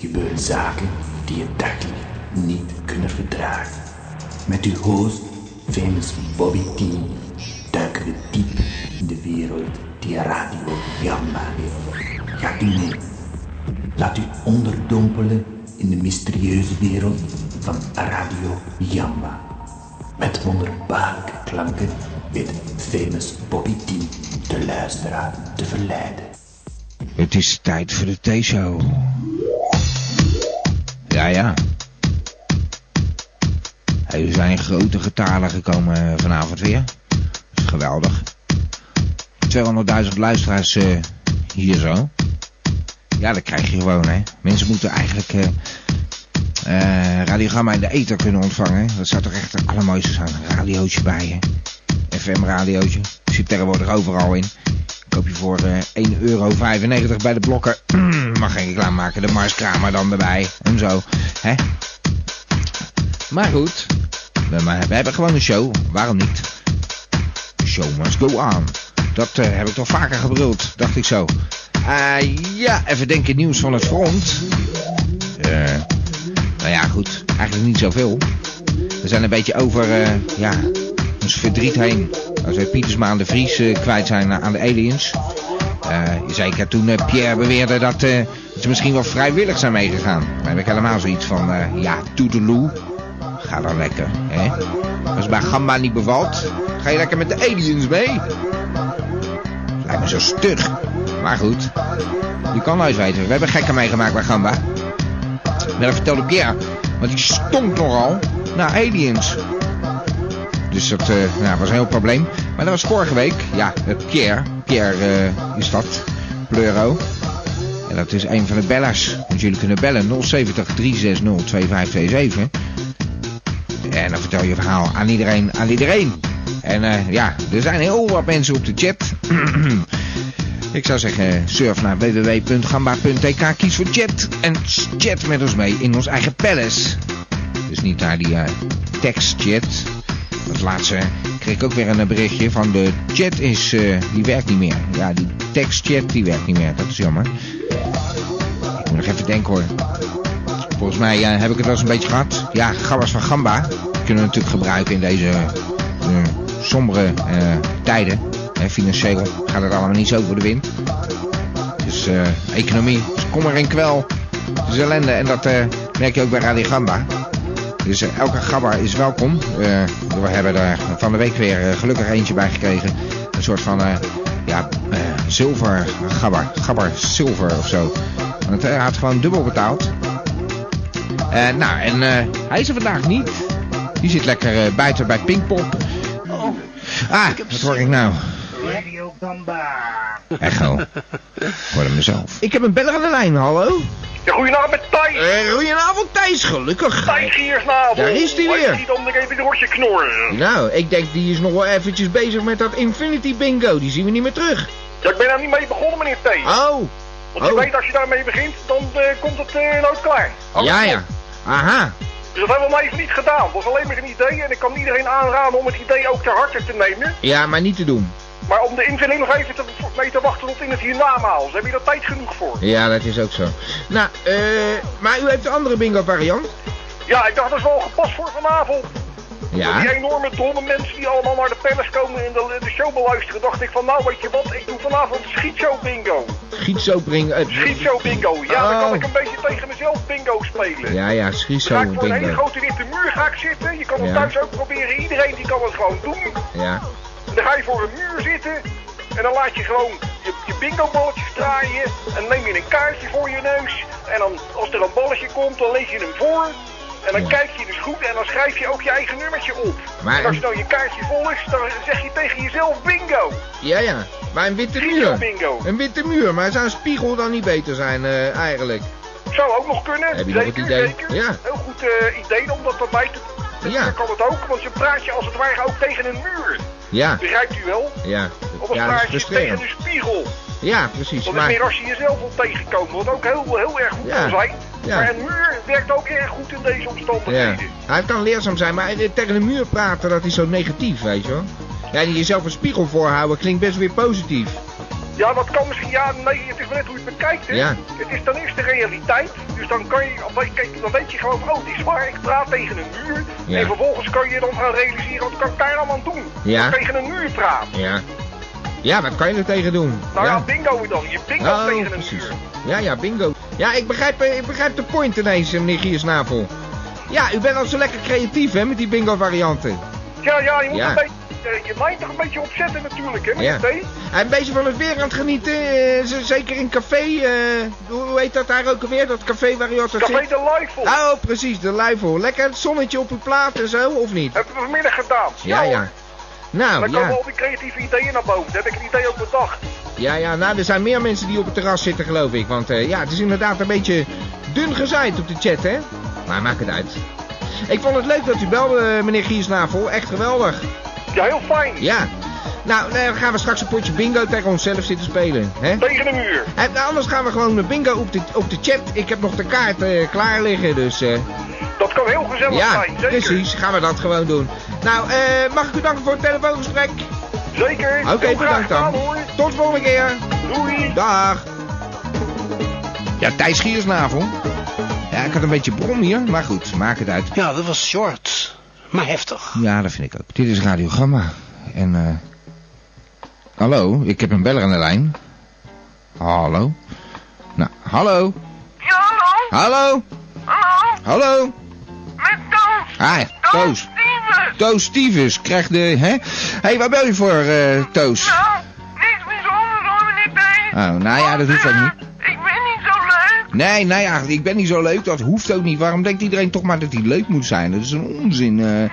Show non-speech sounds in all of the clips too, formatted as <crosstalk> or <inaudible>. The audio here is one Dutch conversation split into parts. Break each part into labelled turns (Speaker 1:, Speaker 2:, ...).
Speaker 1: gebeuren zaken die je dagelijks niet kunnen verdragen. Met uw host, famous Bobby T, duiken we diep in de wereld die Radio Gamma heeft. Gaat u mee? Laat u onderdompelen in de mysterieuze wereld van Radio Jamba. Met wonderbaarlijke klanken weet famous Bobby T de luisteraar te verleiden.
Speaker 2: Het is tijd voor de theeshow. Ja, ja. Hey, Er zijn grote getalen gekomen vanavond weer. Dat is geweldig. 200.000 luisteraars eh, hier zo. Ja, dat krijg je gewoon, hè. Mensen moeten eigenlijk eh eh, radiogramma in de ether kunnen ontvangen. Dat zou toch echt het allermooiste zijn. Een radiootje bij je. FM-radiootje. Zit tegenwoordig overal in. Koop je voor eh 1,95 euro bij de blokken. <clears throat> Mag geen reclame maken. De Mars Kramer dan erbij. En zo. Hè? Maar goed. We, maar we hebben gewoon een show. Waarom niet? The show must go on. Dat eh, heb ik toch vaker gebruld. Dacht ik zo. Eh, ja, even denken. Nieuws van het front. Eh, nou ja, goed. Eigenlijk niet zoveel. We zijn een beetje over eh, ja, ons verdriet heen. Als wij Pietersma aan de Vries eh, kwijt zijn aan de aliens. Eh, zeker toen eh, Pierre beweerde dat eh, ze misschien wel vrijwillig zijn meegegaan. Dan heb ik helemaal zoiets van, eh ja, toedeloe. Ga dan lekker, hè. Als het bij Gamma niet bevalt, ga je lekker met de aliens mee. Lijkt me zo stug. Maar goed, je kan nooit weten. We hebben gekken meegemaakt bij Gamba. Maar dat vertelde Pierre. Want die stonk nogal naar aliens. Dus dat eh, nou, was een heel probleem. Maar dat was vorige week. Ja, eh, Pierre. Pierre eh, is dat. Pleuro. En dat is een van de bellers. Dus jullie kunnen bellen 070 360 2527. En dan vertel je verhaal aan iedereen, aan iedereen. En eh, ja, er zijn heel wat mensen op de chat. <clears throat> Ik zou zeggen, eh, surf naar www.gamba.tk, kies voor chat en chat met ons mee in ons eigen palace. Dus niet naar die eh, tekstchat. Het laatste kreeg ik ook weer een berichtje van de chat is, eh, die werkt niet meer. Ja, die tekstchat die werkt niet meer, dat is jammer. Ik moet nog even denken hoor. Volgens mij eh, heb ik het wel eens een beetje gehad. Ja, gabbers van Gamba kunnen we natuurlijk gebruiken in deze eh, sombere eh, tijden. Hè, financieel gaat het allemaal niet zo voor de wind. Dus eh, economie, is kommer en kwel. Het is ellende en dat eh, merk je ook bij Radio Gamba. Dus eh, elke gabber is welkom. Eh, we hebben er van de week weer eh, gelukkig eentje bij gekregen. Een soort van eh, ja, eh, zilver gabber. Gabber zilver of zo. Want hij had gewoon dubbel betaald. Eh, nou, en eh, hij is er vandaag niet. Die zit lekker eh, buiten bij Pinkpop. Ah, wat hoor ik nou?
Speaker 1: Radio Gamba.
Speaker 2: Echo. Voor mezelf. Ik heb een beller aan de lijn, hallo.
Speaker 3: Ja, goedenavond met Thijs.
Speaker 2: Eh, goedenavond Thijs, gelukkig.
Speaker 3: Thijs Giersnavel.
Speaker 2: Daar is die weer.
Speaker 3: Niet om nog even het hortje knorren.
Speaker 2: Nou, ik denk die is nog wel eventjes bezig met dat Infinity Bingo. Die zien we niet meer terug.
Speaker 3: Ja, ik ben daar niet mee begonnen, meneer Thijs.
Speaker 2: Oh,
Speaker 3: Want je
Speaker 2: oh.
Speaker 3: weet, als je daarmee begint, dan eh, komt het eh nooit klaar.
Speaker 2: ja ja. Aha.
Speaker 3: Dus dat hebben we maar even niet gedaan. Het was alleen maar een idee en ik kan iedereen aanraden om het idee ook ter harte te nemen.
Speaker 2: Ja, maar niet te doen.
Speaker 3: Maar om de invulling nog even te, mee te wachten tot in het hiernamaals. Heb je daar tijd genoeg voor?
Speaker 2: Ja, dat is ook zo. Nou, eh, maar u heeft een andere bingo variant.
Speaker 3: Ja, ik dacht dat is wel gepast voor vanavond. Door Die
Speaker 2: Ja.
Speaker 3: enorme domme mensen die allemaal naar de palace komen en de, de show beluisteren, dacht ik van nou weet je wat, ik doe vanavond schietshow bingo.
Speaker 2: Schietsopering.
Speaker 3: Schietshow bingo. Ja, dan
Speaker 2: Oh.
Speaker 3: kan ik een beetje tegen mezelf bingo spelen.
Speaker 2: Ja ja,
Speaker 3: Ga ik
Speaker 2: schietsopering
Speaker 3: voor een hele
Speaker 2: bingo.
Speaker 3: grote witte muur ga ik zitten. Je kan het
Speaker 2: Ja.
Speaker 3: thuis ook proberen. Iedereen die kan het gewoon doen.
Speaker 2: Ja.
Speaker 3: En dan ga je voor een muur zitten. En dan laat je gewoon je, je bingo balletjes draaien. En neem je een kaartje voor je neus. En dan als er een balletje komt, dan lees je hem voor. En dan
Speaker 2: Ja.
Speaker 3: kijk je dus goed en dan schrijf je ook je eigen nummertje op.
Speaker 2: Maar-
Speaker 3: en als je dan je kaartje vol is, dan zeg je tegen jezelf bingo.
Speaker 2: Ja ja. Maar een witte muur.
Speaker 3: Bingo.
Speaker 2: Een witte muur, maar zou een spiegel dan niet beter zijn eh, eigenlijk?
Speaker 3: Zou ook nog kunnen.
Speaker 2: Heb je nog
Speaker 3: zeker,
Speaker 2: het idee?
Speaker 3: zeker.
Speaker 2: Ja.
Speaker 3: Heel goed eh, idee om dat erbij te doen.
Speaker 2: Ja.
Speaker 3: Dan kan het ook, want je praat je als het ware ook tegen een muur.
Speaker 2: Ja,
Speaker 3: Begrijpt u wel?
Speaker 2: ja.
Speaker 3: Of als
Speaker 2: Ja, dat is
Speaker 3: praat je tegen
Speaker 2: frustrerend.
Speaker 3: een spiegel.
Speaker 2: Ja, precies.
Speaker 3: Dat is meer
Speaker 2: Maar,
Speaker 3: als je jezelf wil tegenkomen, wat ook heel, heel erg goed
Speaker 2: Ja.
Speaker 3: kan zijn.
Speaker 2: Ja.
Speaker 3: Maar een muur werkt ook erg goed in deze
Speaker 2: ja.
Speaker 3: omstandigheden.
Speaker 2: Hij kan leerzaam zijn, maar eh, tegen de muur praten, dat is zo negatief, weet je wel. Ja, en jezelf een spiegel voorhouden klinkt best weer positief.
Speaker 3: Ja, dat kan misschien. Ja, nee, het is maar net hoe je het bekijkt. Hè?
Speaker 2: Ja.
Speaker 3: Het is ten eerste realiteit. Dus dan kan je, kijk, dan weet je gewoon, oh, het is waar, ik praat tegen een muur.
Speaker 2: Ja.
Speaker 3: En vervolgens kan je dan gaan realiseren, wat kan ik daar nou aan doen?
Speaker 2: Ja.
Speaker 3: Tegen een muur praten.
Speaker 2: Ja. Ja, wat kan je er tegen doen?
Speaker 3: Nou ja,
Speaker 2: ja.
Speaker 3: bingo dan. Je bingo
Speaker 2: Oh,
Speaker 3: tegen een
Speaker 2: precies.
Speaker 3: muur.
Speaker 2: Ja, ja, bingo. Ja, ik begrijp, eh, ik begrijp de point ineens, eh, meneer Giersnavel. Ja, u bent al zo lekker creatief, hè, met die bingo-varianten.
Speaker 3: Ja, ja, je moet
Speaker 2: Ja.
Speaker 3: een beetje, eh, je mind toch een beetje opzetten natuurlijk, hè, met
Speaker 2: Ja.
Speaker 3: de thee.
Speaker 2: Hij is bezig van het weer aan het genieten, eh, z- zeker in café. eh, hoe hoe heet dat daar ook alweer, dat café waar u altijd
Speaker 3: Café
Speaker 2: zit?
Speaker 3: de Luifel.
Speaker 2: Oh, precies, de luifel. Lekker het zonnetje op uw plaat en zo, of niet?
Speaker 3: Hebben we vanmiddag gedaan.
Speaker 2: Ja,
Speaker 3: Eh, hoor.
Speaker 2: ja. Nou,
Speaker 3: Dan komen
Speaker 2: ja.
Speaker 3: al die creatieve ideeën naar boven. Daar heb ik een idee op bedacht.
Speaker 2: Ja, ja, nou, er zijn meer mensen die op het terras zitten, geloof ik. Want eh, ja, het is inderdaad een beetje dun gezaaid op de chat, hè? Maar maakt het uit. Ik vond het leuk dat u belde, eh, meneer Giersnavel. Echt geweldig.
Speaker 3: Ja, heel fijn.
Speaker 2: Ja. Nou, eh, dan gaan we straks een potje bingo tegen onszelf zitten spelen, hè?
Speaker 3: Tegen de muur.
Speaker 2: En nou, anders gaan we gewoon met bingo op de, op de chat. Ik heb nog de kaart eh, klaar liggen, dus... eh,
Speaker 3: Dat kan heel gezellig
Speaker 2: ja,
Speaker 3: zijn, zeker.
Speaker 2: precies. Gaan we dat gewoon doen. Nou, eh, mag ik u danken voor het telefoongesprek?
Speaker 3: Zeker.
Speaker 2: Oké,
Speaker 3: Heel graag
Speaker 2: bedankt dan.
Speaker 3: gedaan, hoor.
Speaker 2: Tot de volgende keer.
Speaker 3: Doei.
Speaker 2: Dag. Ja, Thijs Giersnavel. Ja, ik had een beetje brom hier, maar goed, maak het uit.
Speaker 4: Ja, Nou, dat was short, maar heftig.
Speaker 2: Ja, dat vind ik ook. Dit is Radio Gamma. En, eh... Hallo, ik heb een beller aan de lijn. Hallo. Nou, hallo.
Speaker 5: Ja, hallo,
Speaker 2: Hallo.
Speaker 5: hallo,
Speaker 2: Hallo.
Speaker 5: met Toos.
Speaker 2: Hi,
Speaker 5: Toos
Speaker 2: Toos.
Speaker 5: Stevens.
Speaker 2: Toos Stevens krijgt de... Hé, hey, waar bel je voor, eh, Toos?
Speaker 5: Nou, niks bijzonders hoor, meneer P.
Speaker 2: Oh, nou ja, dat hoeft ook niet.
Speaker 5: Ik ben niet zo leuk.
Speaker 2: Nee, nee, eigenlijk, ik ben niet zo leuk. Dat hoeft ook niet. Waarom denkt iedereen toch maar dat hij leuk moet zijn? Dat is een onzin. eh.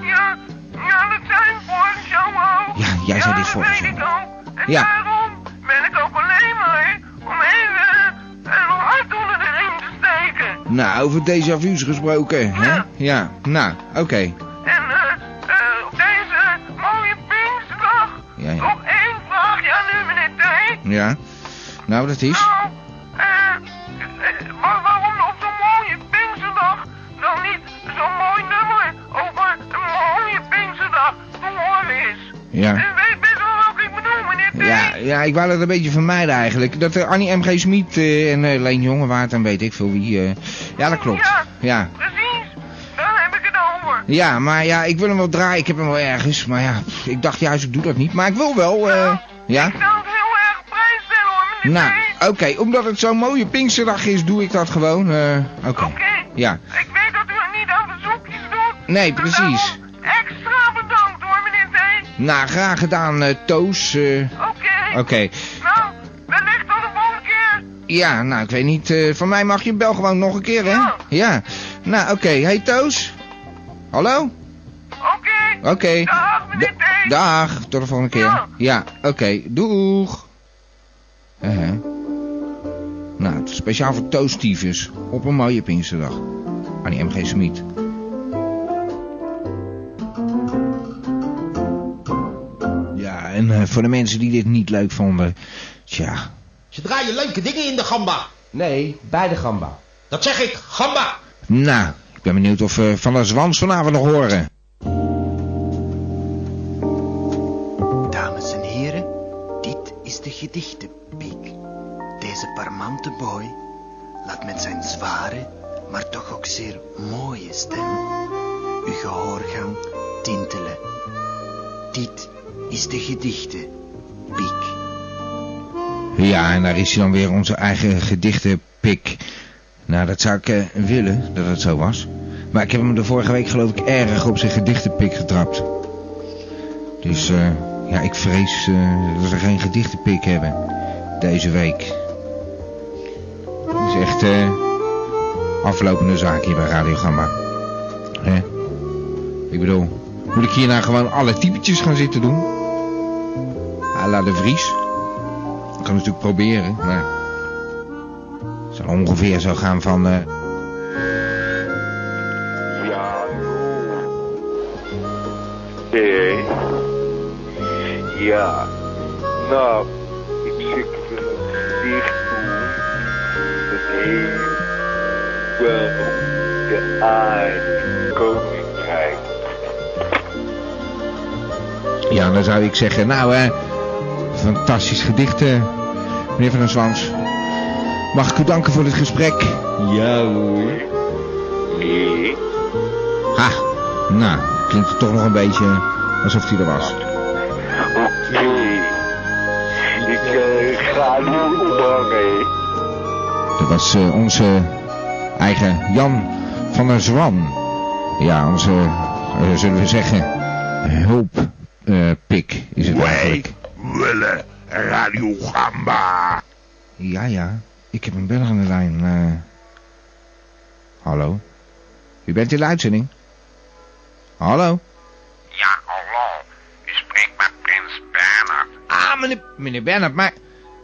Speaker 5: Ja, ja, dat zei ik voor de show ook.
Speaker 2: Ja, jij zei dit
Speaker 5: dat
Speaker 2: voor de
Speaker 5: weet
Speaker 2: show.
Speaker 5: ik ook. En
Speaker 2: Ja.
Speaker 5: daarom ben ik ook alleen maar om even eh, een hart onder de riem te steken.
Speaker 2: Nou, over déjà vu's gesproken, hè?
Speaker 5: Ja.
Speaker 2: Ja, nou, oké.
Speaker 5: En eh, eh, op deze mooie Pinksterdag
Speaker 2: Ja, ja.
Speaker 5: nog één vraagje aan u, meneer T.
Speaker 2: Ja. Nou, dat is...
Speaker 5: Nou, eh, eh, wa- waarom op zo'n mooie Pinksterdag dan niet zo'n mooi nummer over een mooie Pinksterdag te horen is?
Speaker 2: Ja.
Speaker 5: U weet best wel wat ik bedoel, meneer T.
Speaker 2: Ja, ja, ik wou dat een beetje vermijden eigenlijk. Dat eh, Annie M.G. Smit eh, en eh, Leen Jongewaard en weet ik veel wie... eh, Ja, dat klopt. Ja.
Speaker 5: Precies, daar heb ik het over.
Speaker 2: Ja, maar ja, ik wil hem wel draaien. Ik heb hem wel ergens. Maar ja, pff, ik dacht juist, ik doe dat niet. Maar ik wil wel, eh, Ja?
Speaker 5: Ik zou het heel erg prijsstellen hoor, meneer
Speaker 2: Nou,
Speaker 5: T.
Speaker 2: oké. Omdat het zo'n mooie Pinksterdag is, doe ik dat gewoon. eh, oké.
Speaker 5: Oké.
Speaker 2: Ja.
Speaker 5: Ik weet dat u het niet aan verzoekjes doet.
Speaker 2: Nee,
Speaker 5: dus
Speaker 2: precies.
Speaker 5: daarom Extra bedankt hoor, meneer T.
Speaker 2: Nou, graag gedaan, eh, Toos. eh,
Speaker 5: Oké.
Speaker 2: oké.
Speaker 5: Nou, wellicht tot de volgende keer.
Speaker 2: Ja, nou, ik weet niet. eh, van mij mag je bel gewoon nog een keer, hè?
Speaker 5: Ja.
Speaker 2: Ja. Nou, oké. Hey, Toos. Hallo?
Speaker 5: Oké.
Speaker 2: Oké.
Speaker 5: Dag, meneer T.
Speaker 2: Dag, tot de volgende keer. Ja,
Speaker 5: Ja.
Speaker 2: oké, doeg. Eh, hè. Nou, het is speciaal voor toastiefjes op een mooie Pinksterdag. Ah, Annie M.G. Smit. Ja, en eh, voor de mensen die dit niet leuk vonden, tja.
Speaker 6: Ze draaien leuke dingen in de gamba.
Speaker 2: Nee, bij de gamba.
Speaker 6: Dat zeg ik, gamba.
Speaker 2: Nou, ik ben benieuwd of we van de zwans vanavond nog horen.
Speaker 7: Dames en heren, dit is de gedichtenpiek. Deze parmante boy laat met zijn zware, maar toch ook zeer mooie stem uw gehoorgang tintelen. Dit is de gedichtenpiek.
Speaker 2: Ja, en daar is hij dan weer, onze eigen gedichtenpik. Nou, dat zou ik eh, willen, dat het zo was. Maar ik heb hem de vorige week geloof ik erg op zijn gedichtenpik getrapt. Dus eh, ja, ik vrees eh, dat we geen gedichtenpik hebben deze week. Dat is echt eh, aflopende zaak hier bij Radio Gamma. Hè? Ik bedoel, moet ik hier nou gewoon alle typetjes gaan zitten doen? À la de Vries. Ik kan het natuurlijk proberen, maar... Het zal ongeveer zo gaan van... eh,
Speaker 8: Ja. Hé. Eh. Ja. Nou, ik zit er een gedicht toe. Dat heet wel de aarde koninkrijk.
Speaker 2: ja, dan zou ik zeggen, nou, eh, Fantastisch gedicht, eh, meneer Van der Zwans. Mag ik u danken voor dit gesprek?
Speaker 8: Ja hoor. Nee,
Speaker 2: Ha, nou, klinkt het toch nog een beetje alsof hij er was.
Speaker 8: oké. Ik eh, ga nu ophangen.
Speaker 2: Dat was eh, onze eigen Jan van der Zwan. Ja, onze, eh, zullen we zeggen, hulppik eh, is het eigenlijk.
Speaker 9: willen Radio Gamba.
Speaker 2: Ja, ja, ik heb een bel aan de lijn. eh. Hallo? U bent in de uitzending? Hallo?
Speaker 5: Ja, hallo. U spreekt met Prins Bernhard.
Speaker 2: Ah, meneer, meneer Bernhard, maar...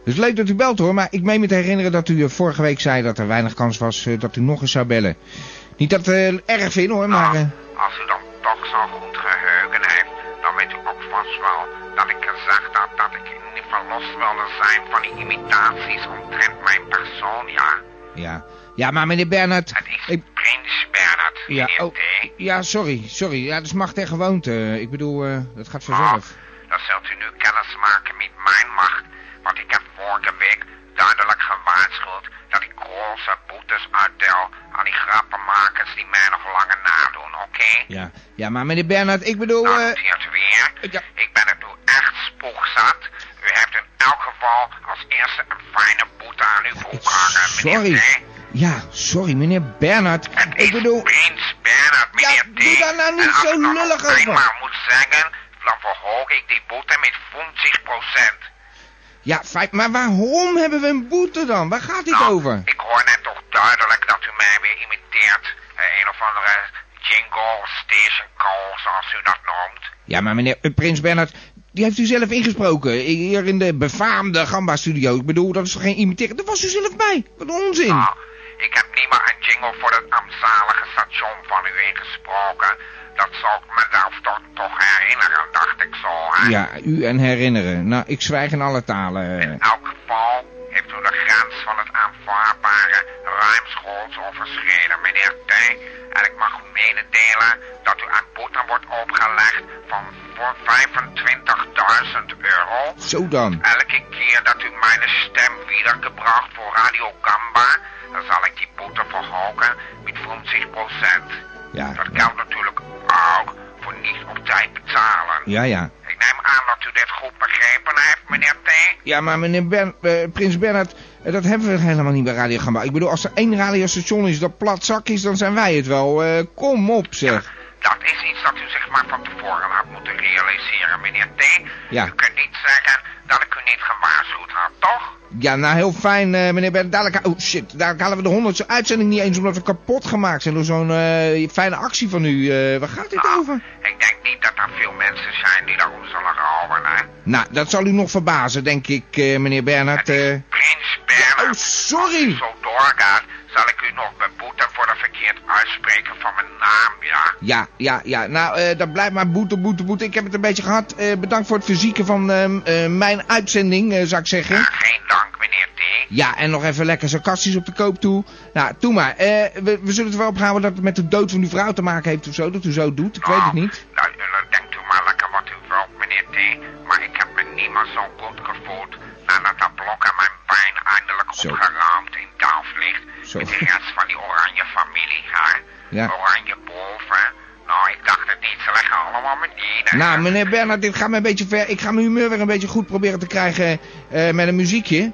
Speaker 2: Het is leuk dat u belt hoor, maar ik meen me te herinneren dat u eh, vorige week zei dat er weinig kans was eh, dat u nog eens zou bellen. Niet dat we het erg vinden hoor, maar... eh,
Speaker 5: Ah, Als u dan toch zo'n goed geheugen heeft, dan weet u ook vast wel dat ik gezegd had dat ik niet verlost wilde zijn van die imitaties omtrent mijn persoon, ja.
Speaker 2: ja. ja, maar meneer Bernhard... Ik,
Speaker 5: Prins Bernhard,
Speaker 2: ja,
Speaker 5: meneer
Speaker 2: oh,
Speaker 5: D.
Speaker 2: ja, sorry, sorry. Ja, dat is macht en gewoonte. Ik bedoel, eh, dat gaat vanzelf.
Speaker 5: Dan Ah, zult u nu kennis maken met mijn macht. Want ik heb vorige week duidelijk gewaarschuwd dat ik grote boetes uitdeel aan die grappenmakers die mij nog langer nadoen, oké?
Speaker 2: Ja, ja maar meneer Bernhard, ik bedoel... eh,
Speaker 5: Noteert u weer?
Speaker 2: ja.
Speaker 5: Ik ben het nu echt spoegzat. U heeft in elk geval als eerste een fijne boete aan uw broek hangen,
Speaker 2: sorry.
Speaker 5: eh, meneer D.
Speaker 2: Ja, sorry, meneer Bernhard.
Speaker 5: Het
Speaker 2: Ik
Speaker 5: is
Speaker 2: bedoel...
Speaker 5: Prins Bernhard, meneer
Speaker 2: Ja,
Speaker 5: D.
Speaker 2: doe daar nou niet
Speaker 5: En als
Speaker 2: zo
Speaker 5: ik dan
Speaker 2: lullig
Speaker 5: nog
Speaker 2: over.
Speaker 5: eenmaal moet zeggen, dan verhoog ik die boete met 50%.
Speaker 2: Ja, fijn, maar waarom hebben we een boete dan? Waar gaat dit
Speaker 5: Nou,
Speaker 2: over?
Speaker 5: Ik hoor net toch duidelijk dat u mij weer imiteert. Eh, een of andere jingle station call, zoals u dat noemt.
Speaker 2: Ja, maar meneer eh, Prins Bernhard, die heeft u zelf ingesproken. Hier in de befaamde Gamba-studio. Ik bedoel, dat is toch geen imiteren? Daar was u zelf bij. Wat een onzin.
Speaker 5: Nou, ik heb niet maar een jingle voor dat armzalige station van u ingesproken. Dat zal ik mezelf toch, toch herinneren, dacht ik zo, hè?
Speaker 2: Ja, u en herinneren. Nou, ik zwijg in alle talen. eh.
Speaker 5: In elk geval heeft u de grens van het aanvaardbare ruimschoots overschreden, meneer T. En ik mag u mededelen dat u aan boete wordt opgelegd van voor 25.000 euro.
Speaker 2: Zo dan.
Speaker 5: Elke keer dat u mijn stem wiedergebracht voor Radio Gamba, dan zal ik die boete verhogen met 50%.
Speaker 2: Ja.
Speaker 5: Dat geldt natuurlijk ook voor niet op tijd betalen.
Speaker 2: Ja, ja.
Speaker 5: Ik neem aan dat u dit goed begrepen heeft, meneer T.
Speaker 2: Ja, maar meneer Bern, eh, Prins Bernhard, eh, dat hebben we helemaal niet bij Radio Gamba. Ik bedoel, als er één radiostation is dat plat zak is, dan zijn wij het wel. Eh, kom op, zeg.
Speaker 5: Dat is iets dat u zich maar van tevoren had moeten realiseren, meneer T.
Speaker 2: Ja.
Speaker 5: U kunt niet zeggen dat ik u niet gewaarschuwd had, toch?
Speaker 2: Ja, nou, heel fijn, eh, meneer Bernhard. Dadelijk, oh shit, dadelijk halen we de honderdste uitzending niet eens omdat we kapot gemaakt zijn door zo'n eh, fijne actie van u. Eh, waar gaat dit over?
Speaker 5: Ik denk niet dat er veel mensen zijn die daarom zullen rouwen, hè.
Speaker 2: Nou, dat zal u nog verbazen, denk ik, eh, meneer Bernhard. eh.
Speaker 5: Prins Bernhard.
Speaker 2: Oh, sorry.
Speaker 5: zo doorgaat, zal ik u nog beboeten voor het verkeerd uitspreken van mijn naam, ja.
Speaker 2: Ja, ja, ja. Nou, eh, dat blijft maar boete, boete, boete. Ik heb het een beetje gehad. Eh, bedankt voor het verzieken van ehm, eh, mijn uitzending, eh, zou ik zeggen.
Speaker 5: Geen dank, meneer T.
Speaker 2: Ja, en nog even lekker sarcastisch op de koop toe. Nou, doe maar. Eh, we, we zullen het wel ophouden dat het met de dood van uw vrouw te maken heeft of zo. Dat u zo doet. Ik weet het niet.
Speaker 5: Nou, nou, denkt u maar lekker wat u wilt, meneer T. Maar ik heb me niet meer zo goed gevoeld nadat dat blok aan mijn pijn eindelijk
Speaker 2: Zo.
Speaker 5: opgeruimd in Delft ligt.
Speaker 2: Zo.
Speaker 5: Met de rest van die oranje familie, hè.
Speaker 2: Ja.
Speaker 5: Oranje boven. Nou, ik dacht het niet. Ze leggen allemaal meneer.
Speaker 2: Nou, meneer Bernhard, dit gaat me een beetje ver. Ik ga mijn humeur weer een beetje goed proberen te krijgen eh, met een muziekje.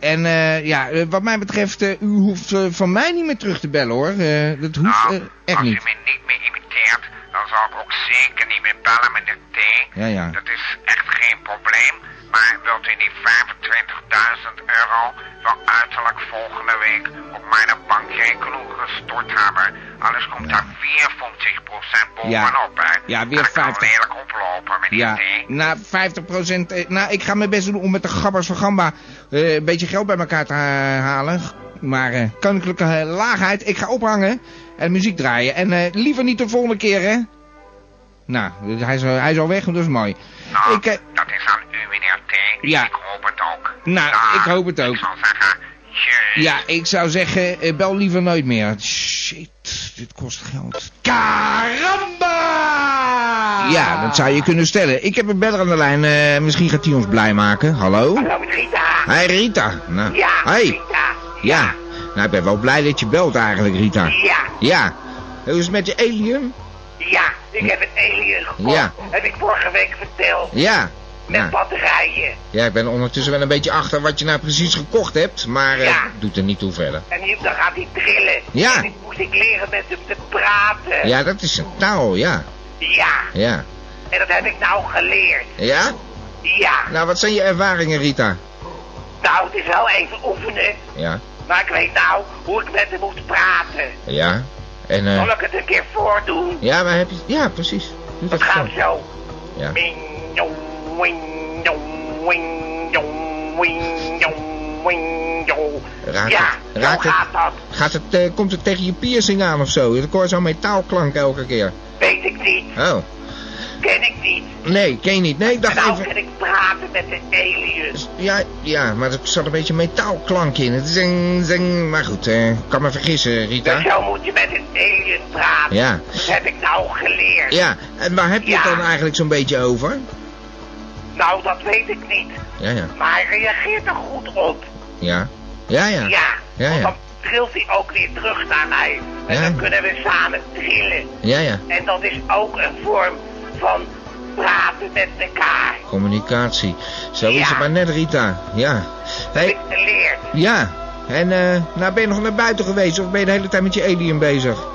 Speaker 2: En eh, ja, eh, wat mij betreft, eh, u hoeft eh, van mij niet meer terug te bellen hoor. Eh, dat hoeft
Speaker 5: Nou,
Speaker 2: eh, echt
Speaker 5: als
Speaker 2: niet.
Speaker 5: u me niet meer imiteert, dan zal ik ook zeker niet meer bellen met de T.
Speaker 2: Ja, ja.
Speaker 5: Dat is echt geen probleem. Maar wilt u die 25.000 euro wel uiterlijk volgende week op mijn bankrekening gestort hebben? Anders komt daar weer 50% bovenop, hè?
Speaker 2: Ja, weer
Speaker 5: En dat kan
Speaker 2: 50.
Speaker 5: lelijk oplopen, meneer
Speaker 2: Ja,
Speaker 5: T.
Speaker 2: na 50%. eh, nou, ik ga mijn best doen om met de gabbers van Gamba eh, een beetje geld bij elkaar te eh, halen. Maar eh, koninklijke eh, laagheid, ik ga ophangen en muziek draaien. En eh, liever niet de volgende keer, hè? Nou, dus hij is, al- hij is al weg, dat is mooi.
Speaker 5: Nou,
Speaker 2: Ik, eh,
Speaker 5: dat is aan u, meneer T.
Speaker 2: Ja.
Speaker 5: Ik hoop het ook.
Speaker 2: Nou, ik hoop het ook.
Speaker 5: Ik zal zeggen, tjus.
Speaker 2: ja, ik zou zeggen, eh, bel liever nooit meer. Shit, dit kost geld.
Speaker 6: Caramba!
Speaker 2: Ja, dat zou je kunnen stellen. Ik heb een beller aan de lijn. eh, misschien gaat hij ons blij maken. Hallo?
Speaker 5: Hallo, met Rita.
Speaker 2: Hé, Rita. Nou.
Speaker 5: Ja,
Speaker 2: Hey.
Speaker 5: Rita.
Speaker 2: Ja. Nou, ik ben wel blij dat je belt eigenlijk, Rita.
Speaker 5: Ja.
Speaker 2: Ja. Hoe is het met je alien?
Speaker 5: Ja, ik heb een alien gekocht.
Speaker 2: Ja.
Speaker 5: Heb ik vorige week verteld.
Speaker 2: Ja.
Speaker 5: Met
Speaker 2: Ja.
Speaker 5: batterijen.
Speaker 2: Ja, ik ben ondertussen wel een beetje achter wat je nou precies gekocht hebt, maar eh,
Speaker 5: Ja.
Speaker 2: doet er niet toe verder.
Speaker 5: En die, dan gaat hij trillen.
Speaker 2: Ja.
Speaker 5: En ik moest ik leren met hem te praten.
Speaker 2: Ja, dat is een taal, ja.
Speaker 5: Ja.
Speaker 2: Ja.
Speaker 5: En dat heb ik nou geleerd.
Speaker 2: Ja?
Speaker 5: Ja.
Speaker 2: Nou, wat zijn je ervaringen, Rita?
Speaker 5: Nou, het is wel even oefenen.
Speaker 2: Ja.
Speaker 5: Maar ik weet nou hoe ik met hem moet praten.
Speaker 2: Ja. En, eh...
Speaker 5: Zal ik het een keer voordoen?
Speaker 2: Ja, maar heb je... Ja, precies. Doe
Speaker 5: Dat
Speaker 2: dat
Speaker 5: gaat
Speaker 2: gewoon.
Speaker 5: zo.
Speaker 2: Ja.
Speaker 5: Ming-jong, wing-jong, wing-jong, wing-jong, wing-jong.
Speaker 2: Raakt
Speaker 5: ja,
Speaker 2: het,
Speaker 5: zo
Speaker 2: raakt het-
Speaker 5: gaat dat.
Speaker 2: Gaat het, eh, komt het tegen je piercing aan of zo? Ik hoor zo'n metaalklank elke keer.
Speaker 5: Weet ik niet.
Speaker 2: Oh.
Speaker 5: Ken ik niet.
Speaker 2: Nee, ken je niet. Nee, ik dacht
Speaker 5: nou
Speaker 2: even...
Speaker 5: kan ik praten met de aliens.
Speaker 2: Dus, Ja, ja, maar er zat een beetje metaalklank in. Het zing, zing. Maar goed, eh, ik kan me vergissen, Rita.
Speaker 5: Dus zo moet je met een alien praten.
Speaker 2: Ja.
Speaker 5: Dat heb ik nou geleerd.
Speaker 2: Ja, en waar heb je het
Speaker 5: Ja.
Speaker 2: dan eigenlijk zo'n beetje over?
Speaker 5: Nou, dat weet ik niet.
Speaker 2: Ja, ja.
Speaker 5: Maar hij reageert er goed op.
Speaker 2: Ja. Ja, ja.
Speaker 5: Ja.
Speaker 2: Ja,
Speaker 5: Want
Speaker 2: ja.
Speaker 5: dan trilt hij ook weer terug naar mij. En
Speaker 2: Ja.
Speaker 5: dan kunnen we samen trillen.
Speaker 2: Ja, ja.
Speaker 5: En dat is ook een vorm van praten met elkaar.
Speaker 2: Communicatie. Zo
Speaker 5: Ja.
Speaker 2: is het maar net, Rita. Ja. Hey,
Speaker 5: Ik geleerd.
Speaker 2: ja. En eh, nou ben je nog naar buiten geweest of ben je de hele tijd met je alien bezig?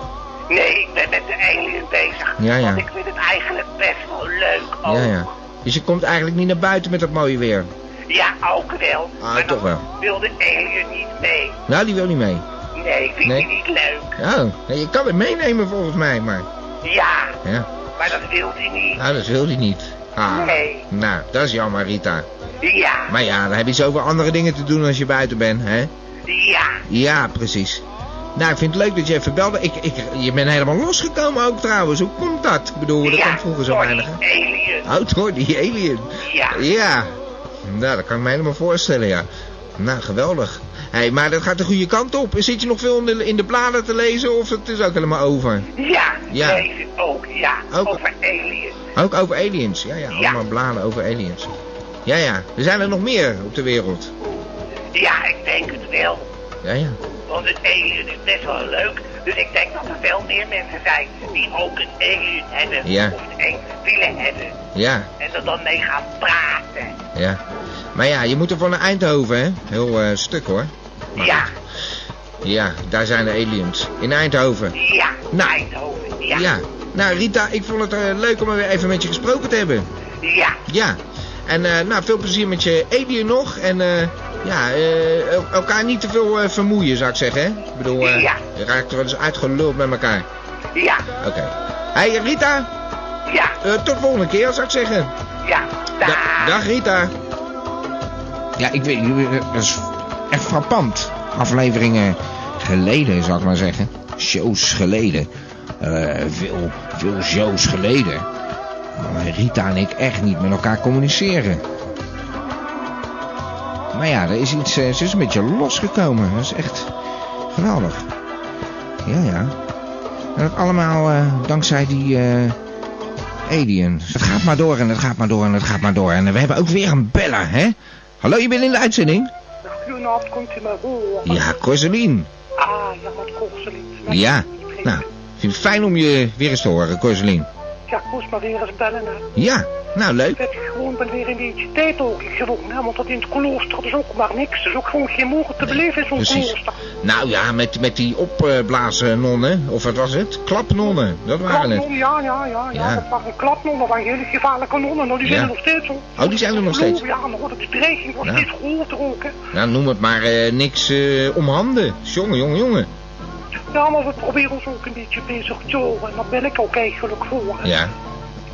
Speaker 5: Nee, ik ben met de alien bezig.
Speaker 2: Ja, ja.
Speaker 5: Want ik vind het eigenlijk best wel leuk ook.
Speaker 2: Ja, ja. Dus je komt eigenlijk niet naar buiten met dat mooie weer.
Speaker 5: Ja, ook wel.
Speaker 2: Ah,
Speaker 5: maar
Speaker 2: toch
Speaker 5: dan
Speaker 2: wel.
Speaker 5: wil de alien niet mee.
Speaker 2: Nou, die wil niet mee.
Speaker 5: Nee, ik vind
Speaker 2: Nee.
Speaker 5: die niet leuk.
Speaker 2: Oh, nee, je kan hem meenemen volgens mij, maar...
Speaker 5: Ja,
Speaker 2: Ja,
Speaker 5: maar dat wil hij niet.
Speaker 2: nou, dat wil hij niet. Ah,
Speaker 5: Nee.
Speaker 2: Nou, dat is jammer, Rita.
Speaker 5: Ja,
Speaker 2: Maar ja, dan heb je zoveel andere dingen te doen als je buiten bent, hè?
Speaker 5: ja.
Speaker 2: Ja, precies. Nou, ik vind het leuk dat je even belde. Ik, ik, je bent helemaal losgekomen ook trouwens. Hoe komt dat? Ik bedoel, dat
Speaker 5: ja,
Speaker 2: kan vroeger zo
Speaker 5: door
Speaker 2: weinig.
Speaker 5: die
Speaker 2: hè?
Speaker 5: alien.
Speaker 2: Oh, door die alien.
Speaker 5: Ja.
Speaker 2: Ja. Nou, dat kan ik me helemaal voorstellen, ja. Nou, geweldig. Hé, hey, maar dat gaat de goede kant op. Zit je nog veel in de, in de bladen te lezen of het is ook helemaal over?
Speaker 5: Ja,
Speaker 2: Ja.
Speaker 5: deze ook, ja.
Speaker 2: Ook-
Speaker 5: Over aliens.
Speaker 2: Ook over aliens, ja, ja.
Speaker 5: Ja.
Speaker 2: Allemaal bladen over aliens. Ja, ja. Er zijn er nog meer op de wereld.
Speaker 5: Ja, ik denk het wel.
Speaker 2: Ja, ja.
Speaker 5: Want een alien is best wel leuk. Dus ik denk dat er veel meer mensen zijn die ook een alien hebben.
Speaker 2: Ja.
Speaker 5: Of een alien willen hebben.
Speaker 2: Ja,
Speaker 5: En er dan mee gaan praten.
Speaker 2: ja. Maar ja, je moet er van naar Eindhoven, hè? Heel eh, stuk, hoor. Maar
Speaker 5: Ja,
Speaker 2: Ja, daar zijn de aliens. In Eindhoven.
Speaker 5: ja.
Speaker 2: Nou.
Speaker 5: Eindhoven, ja.
Speaker 2: Nou, Rita, ik vond het eh, leuk om weer even met je gesproken te hebben.
Speaker 5: Ja.
Speaker 2: Ja. En eh, nou, veel plezier met je alien nog. En eh, ja, eh, el- elkaar niet te veel eh, vermoeien, zou ik zeggen, hè? Ik bedoel, eh,
Speaker 5: Ja.
Speaker 2: je raakt wel eens uitgeluld met elkaar.
Speaker 5: Ja,
Speaker 2: Oké. Hey, Rita,
Speaker 5: ja,
Speaker 2: eh, tot de volgende keer, zou ik zeggen.
Speaker 5: ja.
Speaker 2: Da-
Speaker 5: Daag.
Speaker 2: dag, Rita. Ja, ik weet, eh, dat is echt frappant. Afleveringen geleden, zou ik maar zeggen. Shows geleden. Eh, veel, veel shows geleden. Maar Rita en ik echt niet met elkaar communiceren. Maar ja, er is iets, eh, ze is een beetje losgekomen. Dat is echt geweldig. Ja, ja. En dat allemaal eh, dankzij die... eh, Alien. Het gaat maar door en het gaat maar door en het gaat maar door. En we hebben ook weer een beller, hè? Hallo, je bent in de uitzending?
Speaker 3: Goedenavond, komt u mij horen?
Speaker 2: Ja, Corseline.
Speaker 3: Ah, ja, wat korseling.
Speaker 2: Ja. Nou, ik vind het fijn om je weer eens te horen, Corseline.
Speaker 3: Ja, ik moest maar weer eens bellen. hè.
Speaker 2: Ja, nou
Speaker 3: Ik
Speaker 2: leuk.
Speaker 3: heb gewoon ben weer een beetje tijd ook gewoon, hè, want dat in het klooster is ook maar niks. Er is ook gewoon geen mogen te beleven in zo'n
Speaker 2: Precies.
Speaker 3: klooster.
Speaker 2: Nou ja, met, met die opblazen nonnen, of wat was het? Klapnonnen, dat waren het.
Speaker 3: Klapnon, ja, ja, ja, ja,
Speaker 2: Ja.
Speaker 3: Dat waren klapnon, dat waren hele gevaarlijke nonnen. Nou, die zijn
Speaker 2: Ja.
Speaker 3: er nog steeds, hoor.
Speaker 2: Oh, die zijn er nog steeds.
Speaker 3: Ja, maar hoor, de bedreiging wordt
Speaker 2: Ja.
Speaker 3: steeds groter ook, hè.
Speaker 2: Nou, noem het maar eh, niks eh, om handen. Jongen, jongen, jongen.
Speaker 3: Ja, maar we proberen ons ook een beetje bezig te houden. En daar ben ik ook eigenlijk voor, hè.
Speaker 2: Ja,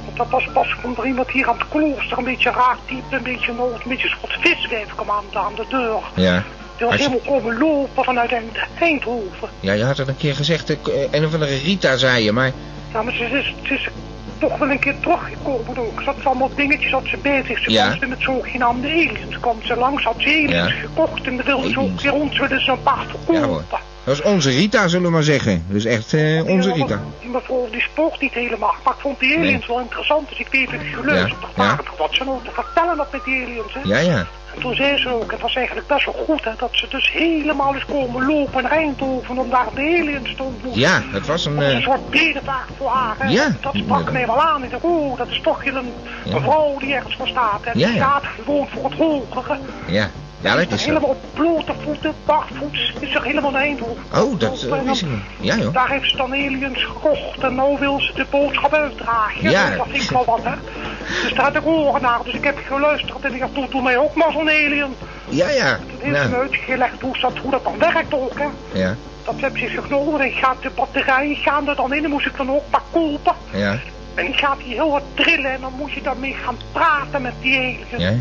Speaker 3: Want dat was pas komt er iemand hier aan het klooster, een beetje raar type, een beetje nood, een beetje een soort viswijf kwam aan de, aan de deur.
Speaker 2: ja.
Speaker 3: Die was
Speaker 2: Als je-
Speaker 3: helemaal komen lopen vanuit Eind- Eindhoven.
Speaker 2: Ja, je had het een keer gezegd, eh, een of andere Rita zei je, maar...
Speaker 3: Ja, maar ze is, ze is toch wel een keer teruggekomen ook. Ze
Speaker 10: dus
Speaker 3: had allemaal dingetjes had ze bezig. Ze
Speaker 2: Ja.
Speaker 3: kwam ze met zogenaamde aliens. Kwam ze langs, had ze aliens
Speaker 2: Ja.
Speaker 3: gekocht en dan wilde ze ook
Speaker 2: Aliens.
Speaker 3: weer ons willen ze een paar verkopen.
Speaker 2: Ja hoor. Dat is onze Rita, zullen we maar zeggen. Dus echt eh, onze
Speaker 10: Ja,
Speaker 2: Rita.
Speaker 10: Die mevrouw die spookt niet helemaal, maar ik vond die aliens wel interessant, dus ik deed het geluisterd.
Speaker 2: Ja,
Speaker 10: Ja,
Speaker 2: ja.
Speaker 10: Wat ze nou te vertellen had met die aliens, hè.
Speaker 2: Ja, ja.
Speaker 10: En toen zei ze ook, het was eigenlijk best wel goed, hè, dat ze dus helemaal is komen lopen naar Eindhoven om daar de aliens te ontmoeten.
Speaker 2: Ja, dat was een...
Speaker 10: Dat was
Speaker 2: eh,
Speaker 10: een soort bedevaart voor haar. Hè?
Speaker 2: Ja.
Speaker 10: Dat sprak mij wel aan. Ik dacht, oh, dat is toch hier een
Speaker 2: Ja.
Speaker 10: een vrouw die ergens voor staat. En
Speaker 2: Ja,
Speaker 10: die
Speaker 2: ja.
Speaker 10: staat gewoon voor het hogere.
Speaker 2: ja. ja, dat is
Speaker 10: helemaal
Speaker 2: zo.
Speaker 10: op blote voeten, barvoets, is zich helemaal naar Eindhoven.
Speaker 2: Oh, dat eh,
Speaker 10: En dan-
Speaker 2: wist ik niet. Ja, joh.
Speaker 10: Daar heeft ze dan aliens gekocht en nou wil ze de boodschap uitdragen.
Speaker 2: Ja.
Speaker 10: Dat vind ik wel wat, hè. Dus daar had ik oren naar, dus ik heb geluisterd en ik dacht, doe, doe mij ook maar zo'n alien.
Speaker 2: Ja, ja.
Speaker 10: Toen heeft ze me
Speaker 2: Nou,
Speaker 10: uitgelegd hoe dat, hoe dat dan werkt ook, hè.
Speaker 2: ja.
Speaker 10: Dat heb ze genomen en gaat de batterijen gaan er dan in, dan moest ik dan ook maar kopen.
Speaker 2: Ja.
Speaker 10: En die gaat hier heel wat trillen en dan moet je daarmee gaan praten met die alien.
Speaker 2: Ja, ja.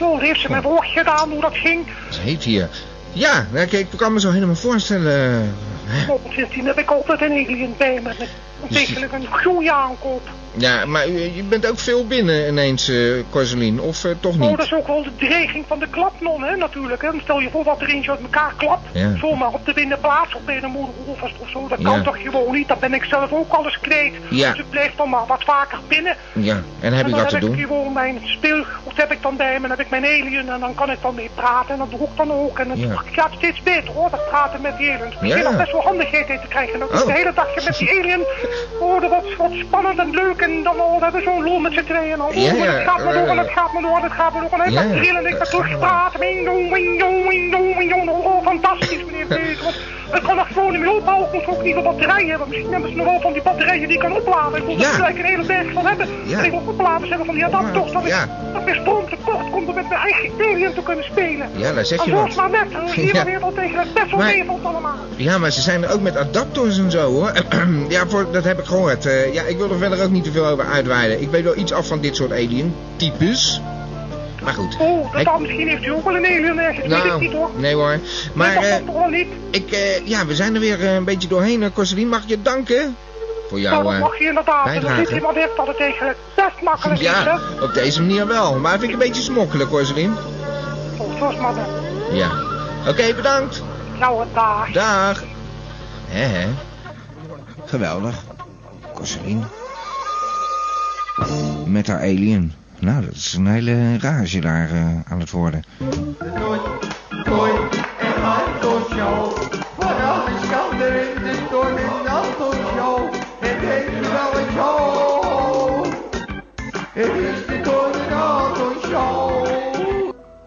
Speaker 10: Nou, dat heeft ze me voor gedaan hoe dat ging.
Speaker 2: Wat heet hier? Ja, nou, kijk, ik kan me zo helemaal voorstellen.
Speaker 10: Nou, sindsdien heb ik altijd een alien bij me. Met ontwikkelen een goede aankoop.
Speaker 2: Ja, maar u- je bent ook veel binnen ineens, eh Corseline, of eh, toch
Speaker 10: Oh,
Speaker 2: niet?
Speaker 10: dat is ook wel de dreiging van de klapnon, hè, natuurlijk. Hè. Stel je voor wat er eentje uit elkaar klapt.
Speaker 2: Ja.
Speaker 10: Zomaar op de binnenplaats of bij de moederhof of zo. Dat kan
Speaker 2: Ja.
Speaker 10: toch gewoon niet? Dan ben ik zelf ook alles kwijt.
Speaker 2: Ja.
Speaker 10: Dus ik blijf dan maar wat vaker binnen.
Speaker 2: Ja, en heb
Speaker 10: en
Speaker 2: je
Speaker 10: dan
Speaker 2: wat te
Speaker 10: heb ik
Speaker 2: doen?
Speaker 10: gewoon mijn speelgoed heb ik dan bij me, dan heb ik mijn alien en dan kan ik dan mee praten en dat doe ik dan ook. En het
Speaker 2: Ja.
Speaker 10: gaat steeds beter hoor, dat praten met die aliens. Ik begin
Speaker 2: Ja.
Speaker 10: nog best wel handigheid in te krijgen. Dan
Speaker 2: Oh.
Speaker 10: de hele dag met die
Speaker 2: <laughs>
Speaker 10: alien, oh dat wordt wat spannend en leuk en dan oh, we hebben we zo'n lol met z'n tweeën. En dan, oh,
Speaker 2: Ja, ja,
Speaker 10: het gaat maar door en
Speaker 2: eh,
Speaker 10: het gaat maar door en het gaat maar door. En dan
Speaker 2: ja.
Speaker 10: ja. trillen en ik ben terugpraten. Wing, dong, wing, dong, wing, dong, wing, dong. Oh,
Speaker 2: <laughs>
Speaker 10: fantastisch meneer Bezos. Het kan nog gewoon niet meer ophouden, ik moet ook nieuwe batterijen hebben. Misschien hebben ze nog wel van die batterijen die ik kan opladen. Ik moet
Speaker 2: Ja.
Speaker 10: er gelijk een hele berg van hebben.
Speaker 2: Ja.
Speaker 10: Ik wil opladen hebben van die adapters. Dat ik,
Speaker 2: Ja.
Speaker 10: dat ik stroom tekort komt om met mijn eigen alien te kunnen spelen.
Speaker 2: Ja, daar zeg je
Speaker 10: En
Speaker 2: wat.
Speaker 10: zoals maar net, dan zie je
Speaker 2: Ja.
Speaker 10: weer wel tegen het best wel
Speaker 2: Maar-
Speaker 10: wereld allemaal.
Speaker 2: Ja, maar ze zijn er ook met adapters en zo, hoor. <clears throat> ja, voor, dat heb ik gehoord. Eh, ja, ik wil er verder ook niet te veel over uitweiden. Ik weet wel iets af van dit soort alien-types. Maar goed.
Speaker 10: Oh, dat
Speaker 2: Ik-
Speaker 10: dan misschien heeft u ook wel een alien ergens. weet ik niet hoor.
Speaker 2: nee hoor. Maar
Speaker 10: dat
Speaker 2: eh,
Speaker 10: komt toch wel niet.
Speaker 2: ik, eh, ja, we zijn er weer eh, een beetje doorheen. hè, Corseline, mag ik je danken? Voor
Speaker 10: Nou,
Speaker 2: jou, eh,
Speaker 10: dat mag je inderdaad. En dan
Speaker 2: bijdrage.
Speaker 10: ziet iemand heeft dat het tegen het best makkelijk is, hè.
Speaker 2: Ja, op deze manier wel. Maar vind ik een beetje smokkelijk, Corseline.
Speaker 10: Oh, zoals maar net.
Speaker 2: Ja. Oké, bedankt.
Speaker 10: Nou, een dag.
Speaker 2: Dag. Hè, hè. Geweldig. Corseline. Met haar alien. Nou, dat is een hele rage daar eh, aan het worden.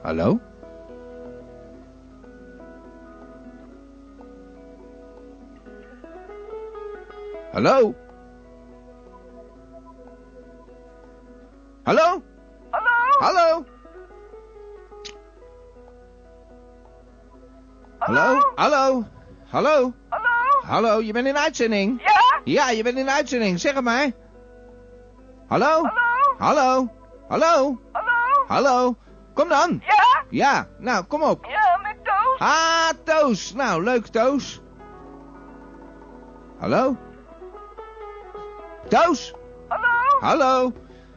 Speaker 2: Hallo? Hallo? Hallo? Hallo? Hallo? Hallo? Hallo? Hallo? Hallo, je bent in uitzending? Ja? Ja, je bent in uitzending, zeg het maar. Hallo? Hallo? Hallo? Hallo? Hallo? Kom dan. Ja? Ja, nou, kom op.
Speaker 11: Ja, met Toos.
Speaker 2: Ah, Toos. Nou, leuk, Toos. Hallo? Toos? Hallo? Hallo?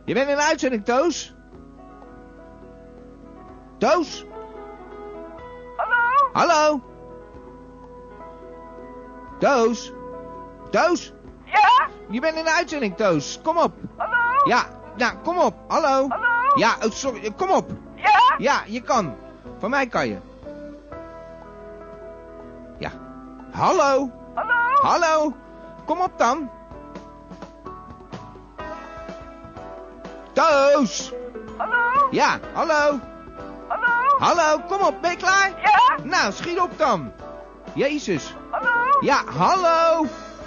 Speaker 2: Je bent in uitzending, Toos? Toos? Hallo? Hallo? Toos? Toos? Ja? Je bent in de uitzending, Toos. Kom op. Hallo? Ja, nou, kom op. Hallo? Hallo? Ja, oh, sorry. eh, Kom op. Ja? <laughs> Ja, je kan. Van mij kan je. Ja. Hallo? Hallo? Hallo? Kom op dan. Toos! Hallo? Ja, hallo? Hallo? Hallo, kom op, ben je klaar? Ja? Nou, schiet op dan. Jezus. Hallo? Ja, hallo?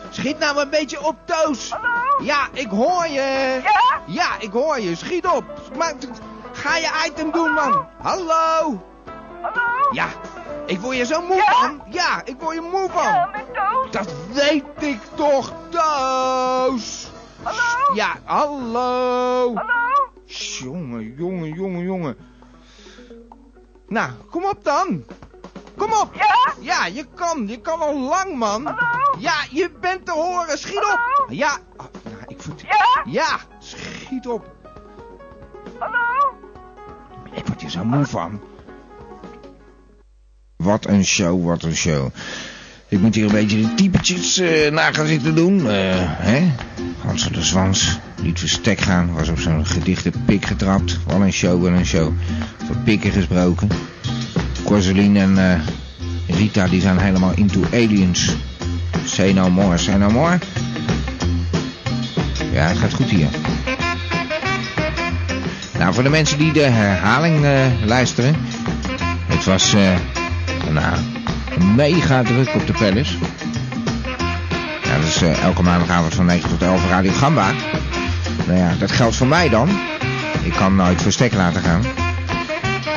Speaker 2: Schiet nou een beetje op, Toos. Hallo? Ja, ik hoor je. Ja? Ja, ik hoor je. Schiet op. Maar, ga je item doen, man. Hallo? Hallo? Ja, ik word je zo moe van. Ja, ik word je moe van. Ja, met Toos. Dat weet ik toch, Toos. Hallo? Ja, hallo. Hallo? Jongen, jongen, jongen, jongen. Nou, kom op dan. Kom op. Ja? Ja, je kan. Je kan al lang, man. Hallo? Ja, je bent te horen. Schiet op. Ja. Oh, nou, ik voel... Ja? Ja, schiet op. Hallo? Ik word hier zo moe van. Wat een show, wat een show. Ik moet hier een beetje de typetjes eh, na gaan zitten doen. eh, hè? Hans de Zwans liet verstek gaan. Was op zo'n gedichte pik getrapt. Wat een show, wat een show. Voor pikken gesproken. Corseline en eh, Rita die zijn helemaal into aliens. Say no more, say no more. Ja, het gaat goed hier. Nou, voor de mensen die de herhaling eh, luisteren. Het was eh, nou, mega druk op de Palace. Ja, dat is eh, elke maandagavond van 9 tot 11 Radio Gamba. Nou ja, dat geldt voor mij dan. Ik kan nooit voor stek laten gaan.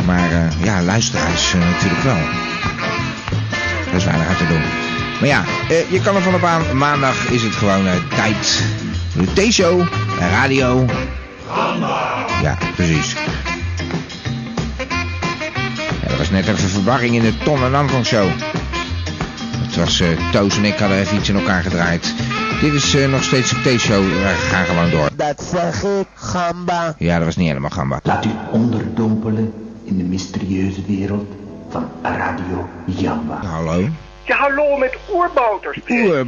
Speaker 2: Maar eh, ja, luisteraars eh, natuurlijk wel. Dat is weinig aan te doen. Maar ja, eh, je kan er van op aan. Maandag is het gewoon eh, tijd. De T-show, radio. Ja, precies. Ja, er was net even verwarring in de Ton en Anton show. Het was eh, Toos en ik hadden even iets in elkaar gedraaid. Dit is eh, nog steeds de T-show. We gaan gewoon door.
Speaker 1: Dat zeg ik, gamba.
Speaker 2: Ja, dat was niet helemaal gamba.
Speaker 1: Laat u onderdompelen in de mysterieuze wereld van Radio Jamba.
Speaker 2: Hallo?
Speaker 3: Ja, hallo met oerbouters.
Speaker 2: Oeh,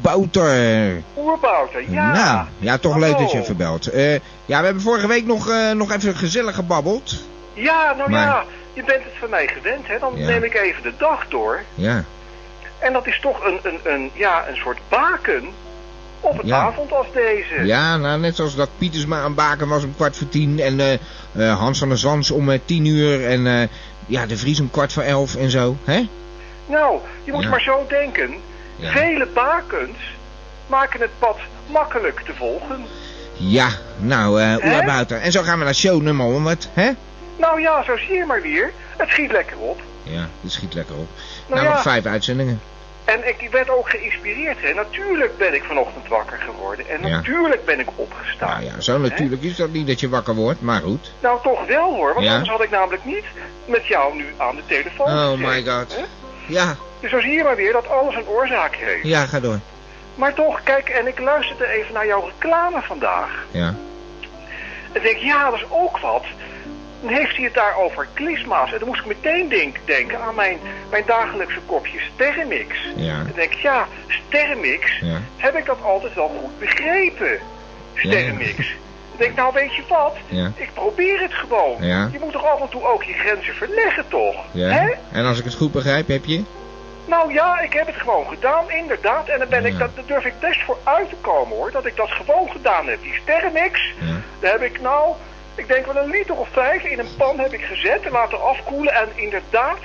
Speaker 2: Bouter.
Speaker 3: Oerbouter, eh. ja.
Speaker 2: Nou, ja, toch leuk dat je
Speaker 3: Hallo.
Speaker 2: even belt. Eh, ja, we hebben vorige week nog, eh, nog even gezellig gebabbeld.
Speaker 3: Ja, nou
Speaker 2: Maar-
Speaker 3: ja, je bent het van mij gewend, hè. Dan
Speaker 2: Ja.
Speaker 3: neem ik even de dag door.
Speaker 2: Ja.
Speaker 3: En dat is toch een, een, een, ja, een soort baken op een
Speaker 2: Ja.
Speaker 3: avond als deze.
Speaker 2: Ja, nou, net zoals dat Pietersma aan Baken was om kwart voor tien. En eh, eh, Hans van der Zans om eh, tien uur. En eh, ja, de Vries om kwart voor elf en zo. Hè?
Speaker 3: Nou, je moet
Speaker 2: Ja.
Speaker 3: maar zo denken.
Speaker 2: Ja.
Speaker 3: Vele bakens maken het pad makkelijk te volgen.
Speaker 2: Ja, nou, eh Oela
Speaker 3: Hè?
Speaker 2: Bouter. En zo gaan we naar show nummer 100, hè?
Speaker 3: Nou ja, zo zie je maar weer. Het schiet lekker op.
Speaker 2: Ja, dat schiet lekker op.
Speaker 3: Nou
Speaker 2: Nou,
Speaker 3: ja.
Speaker 2: nog vijf uitzendingen.
Speaker 3: En ik werd ook geïnspireerd. Hè. Natuurlijk ben ik vanochtend wakker geworden. En
Speaker 2: Ja.
Speaker 3: natuurlijk ben ik opgestaan.
Speaker 2: Nou ja, zo natuurlijk is dat niet dat je wakker wordt, maar goed.
Speaker 3: Nou, toch wel hoor. Want
Speaker 2: Ja.
Speaker 3: anders had ik namelijk niet met jou nu aan de telefoon
Speaker 2: Oh
Speaker 3: gezeten,
Speaker 2: my god.
Speaker 3: hè.
Speaker 2: Ja,
Speaker 3: Dus zo zie je maar weer dat alles een oorzaak heeft.
Speaker 2: ja, ga door.
Speaker 3: Maar toch, kijk, en ik luisterde even naar jouw reclame vandaag.
Speaker 2: Ja.
Speaker 3: En denk, ja, dat is ook wat. Dan heeft hij het daar over klisma's. En dan moest ik meteen denk, denken aan mijn, mijn dagelijkse kopje Sterrenmix.
Speaker 2: Ja.
Speaker 3: Dan denk ik, ja, Sterrenmix,
Speaker 2: Ja.
Speaker 3: heb ik dat altijd wel goed begrepen? Sterrenmix. Dan denk ik, nou weet je wat,
Speaker 2: Ja.
Speaker 3: ik probeer het gewoon.
Speaker 2: Ja.
Speaker 3: Je moet toch af en toe ook je grenzen verleggen, toch?
Speaker 2: Ja.
Speaker 3: Hè?
Speaker 2: En als ik het goed begrijp, heb je?
Speaker 3: Nou ja, ik heb het gewoon gedaan, inderdaad. En daar, ben ik, dat, daar durf ik best voor uit te komen hoor. Dat ik dat gewoon gedaan heb. Die sterrenmix, daar heb ik nou, ik denk wel een liter of vijf in een pan heb ik gezet en laten afkoelen. En inderdaad,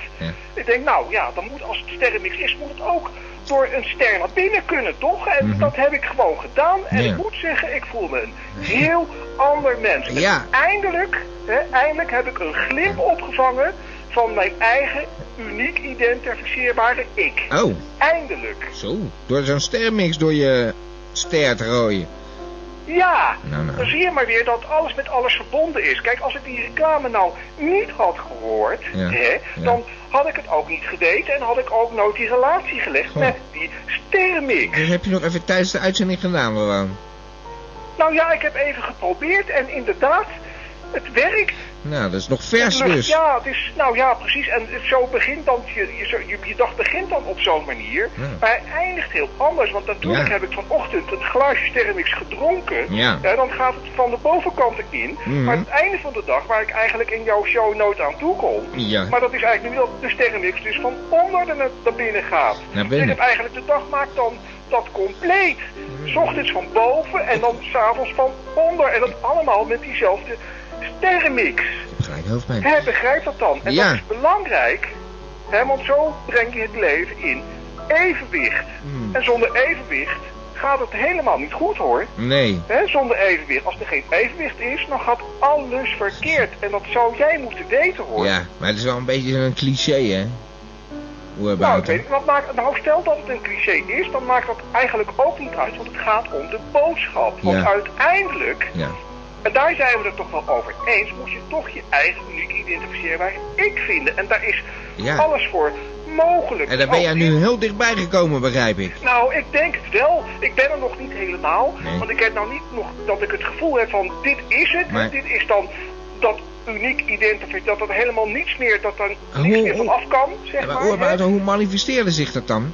Speaker 3: ik denk nou ja, dan moet als het sterrenmix is, moet het ook door een ster naar binnen kunnen, toch? En dat heb ik gewoon gedaan. En
Speaker 2: Mhm. Ja.
Speaker 3: ik moet zeggen, ik voel me een heel ander mens. En
Speaker 2: Ja.
Speaker 3: eindelijk, hè, eindelijk heb ik een glimp opgevangen van mijn eigen uniek identificeerbare ik.
Speaker 2: Oh,
Speaker 3: Eindelijk.
Speaker 2: zo. Door zo'n sterrenmix door je ster te rooien.
Speaker 3: Ja,
Speaker 2: Nou, nou.
Speaker 3: dan zie je maar weer dat alles met alles verbonden is. Kijk, als ik die reclame nou niet had gehoord,
Speaker 2: Ja,
Speaker 3: hè,
Speaker 2: ja.
Speaker 3: dan had ik het ook niet geweten en had ik ook nooit die relatie
Speaker 2: Oh.
Speaker 3: gelegd met die sterrenmix.
Speaker 2: Dus heb je nog even tijdens de uitzending gedaan gewoon?
Speaker 3: Nou ja, ik heb even geprobeerd en inderdaad, het werkt.
Speaker 2: Nou, dat is nog vers
Speaker 3: Het lucht-
Speaker 2: dus.
Speaker 3: Ja, het is, nou ja, precies. En het- zo begint dan, je, je, zo- je, je dag begint dan op zo'n manier,
Speaker 2: Ja.
Speaker 3: maar hij eindigt heel anders. Want natuurlijk
Speaker 2: Ja.
Speaker 3: heb ik vanochtend het glaasje Sterrenmix gedronken.
Speaker 2: Ja.
Speaker 3: dan gaat het van de bovenkant in.
Speaker 2: Mhm.
Speaker 3: Maar het einde van de dag, waar ik eigenlijk in jouw show nooit aan toe kom.
Speaker 2: Ja.
Speaker 3: Maar dat is eigenlijk nu dat de Sterrenmix dus van onder de- naar, binnen gaat.
Speaker 2: Naar
Speaker 3: Dus ik
Speaker 2: binnen.
Speaker 3: heb eigenlijk de dag maakt dan dat compleet.
Speaker 2: Mhm.
Speaker 3: 's ochtends van boven en dan s'avonds van onder. En dat allemaal met diezelfde Sterrenmix.
Speaker 2: Gelijk hoofdpijn.
Speaker 3: Hij begrijpt dat dan. En
Speaker 2: Ja.
Speaker 3: dat is belangrijk, hè, want zo breng je het leven in evenwicht.
Speaker 2: Hmm.
Speaker 3: En zonder evenwicht gaat het helemaal niet goed hoor.
Speaker 2: Nee.
Speaker 3: Hè, zonder evenwicht. Als er geen evenwicht is, dan gaat alles verkeerd. En dat zou jij moeten weten hoor.
Speaker 2: Ja, maar het is wel een beetje een cliché, hè? Hoe
Speaker 3: Nou, ik weet
Speaker 2: about
Speaker 3: niet, wat maakt, nou, stel dat het een cliché is, dan maakt dat eigenlijk ook niet uit, want het gaat om de boodschap. Want
Speaker 2: Ja.
Speaker 3: uiteindelijk
Speaker 2: Ja.
Speaker 3: En daar zijn we het toch wel over eens. Moet je toch je eigen uniek identificeerbaar ik vinden. En daar is
Speaker 2: Ja.
Speaker 3: alles voor mogelijk.
Speaker 2: En daar ben jij
Speaker 3: Oh,
Speaker 2: nu heel dichtbij gekomen, begrijp ik.
Speaker 3: Nou, ik denk het wel. Ik ben er nog niet helemaal.
Speaker 2: Nee.
Speaker 3: Want ik heb nou niet nog dat ik het gevoel heb van dit is het.
Speaker 2: Maar-
Speaker 3: En dit is dan dat uniek identificeer. Dat er helemaal niets meer, dat er niets
Speaker 2: hoe-
Speaker 3: meer van
Speaker 2: hoe-
Speaker 3: af kan, zeg
Speaker 2: Ja, maar
Speaker 3: maar. hè.
Speaker 2: Oerwoud, hoe manifesteerde zich dat dan?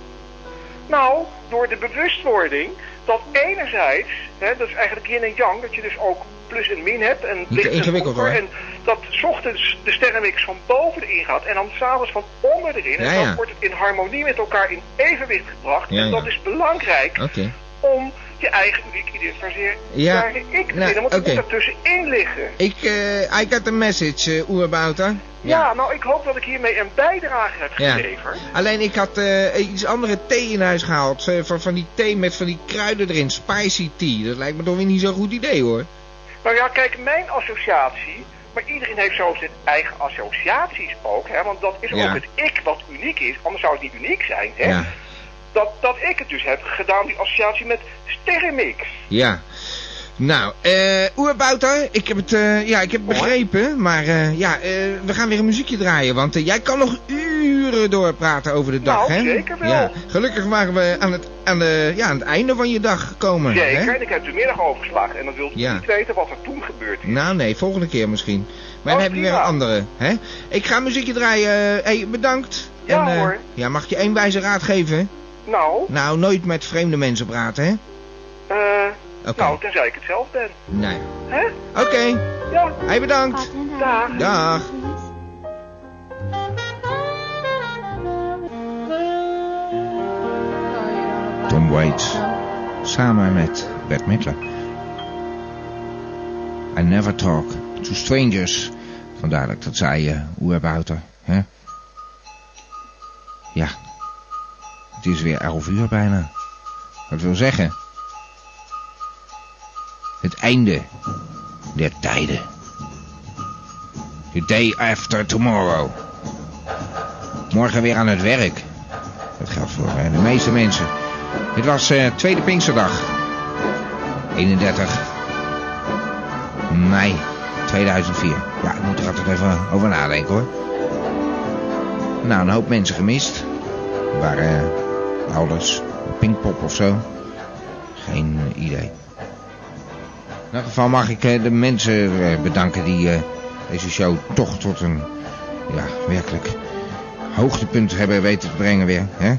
Speaker 3: Nou, door de bewustwording dat enerzijds, hè, dat is eigenlijk yin en yang, dat je dus ook plus en min hebt en
Speaker 2: Niet te
Speaker 3: licht en
Speaker 2: ingewikkeld,
Speaker 3: donker
Speaker 2: hoor.
Speaker 3: En dat 's ochtends de sterrenmix van boven erin gaat en dan s'avonds van onder erin.
Speaker 2: Ja,
Speaker 3: en dan
Speaker 2: ja.
Speaker 3: wordt het in harmonie met elkaar in evenwicht gebracht.
Speaker 2: Ja,
Speaker 3: en dat
Speaker 2: ja.
Speaker 3: is belangrijk
Speaker 2: Oké.
Speaker 3: om je eigen uniek identificeren
Speaker 2: Ja,
Speaker 3: naar de ik te
Speaker 2: nou,
Speaker 3: vinden, want er
Speaker 2: oké.
Speaker 3: moet ertussenin liggen.
Speaker 2: Ik, eh, I got a message, eh oerbouter.
Speaker 3: Ja. nou ik hoop dat ik hiermee een bijdrage heb
Speaker 2: Ja.
Speaker 3: geleverd.
Speaker 2: Alleen ik had eh, iets andere thee in huis gehaald. eh, van, van die thee met van die kruiden erin. Spicy tea. Dat lijkt me toch weer niet zo'n goed idee hoor.
Speaker 3: Nou ja, kijk, mijn associatie, maar iedereen heeft zo zijn eigen associaties ook, hè, want dat is
Speaker 2: Ja.
Speaker 3: ook het ik wat uniek is, anders zou het niet uniek zijn, hè.
Speaker 2: Ja.
Speaker 3: Dat, dat ik het dus heb gedaan, die associatie met sterrenmix.
Speaker 2: Ja. Nou, eh oerbouter, ik heb het, eh, ja, ik heb het begrepen. Maar eh, ja, eh, we gaan weer een muziekje draaien. Want eh, jij kan nog uren doorpraten over de dag,
Speaker 3: Nou,
Speaker 2: hè?
Speaker 3: zeker wel.
Speaker 2: Ja. Gelukkig waren we aan het, aan, de, ja, aan het einde van je dag gekomen.
Speaker 3: Zeker,
Speaker 2: hè?
Speaker 3: en ik heb de middag overgeslagen en dan wilde ik
Speaker 2: Ja.
Speaker 3: niet weten wat er toen gebeurd is.
Speaker 2: Nou nee, volgende keer misschien. Maar
Speaker 3: Oh,
Speaker 2: dan heb je weer een
Speaker 3: prima.
Speaker 2: andere. Hè? Ik ga een muziekje draaien. Hé, hey, bedankt.
Speaker 3: Ja,
Speaker 2: eh,
Speaker 3: hoor.
Speaker 2: Ja, mag ik je één wijze raad geven?
Speaker 3: Nou,
Speaker 2: Nou, nooit met vreemde mensen praten, hè?
Speaker 3: eh,
Speaker 2: Oké.
Speaker 3: nou, tenzij ik het zelf ben.
Speaker 2: Nee.
Speaker 3: Hè?
Speaker 2: Oké.
Speaker 3: Ja.
Speaker 2: Hey, bedankt.
Speaker 3: Dag.
Speaker 2: Dag. Tom Waits. Samen met Bert Midler. I never talk to strangers. Vandaar dat ik dat zei, eh oerbouter. Hè? Ja. Het is weer 11 uur bijna. Dat wil zeggen... Het einde der tijden. The day after tomorrow. Morgen weer aan het werk. Dat geldt voor eh, de meeste mensen. Dit was eh, tweede Pinksterdag. 31 mei 2004. Ja, ik moet er altijd even over nadenken hoor. Nou, een hoop mensen gemist. Er waren eh, ouders, een Pinkpop of zo. Geen eh, idee. In elk geval mag ik eh, de mensen eh, bedanken die eh, deze show toch tot een ja, werkelijk hoogtepunt hebben weten te brengen weer. Hè?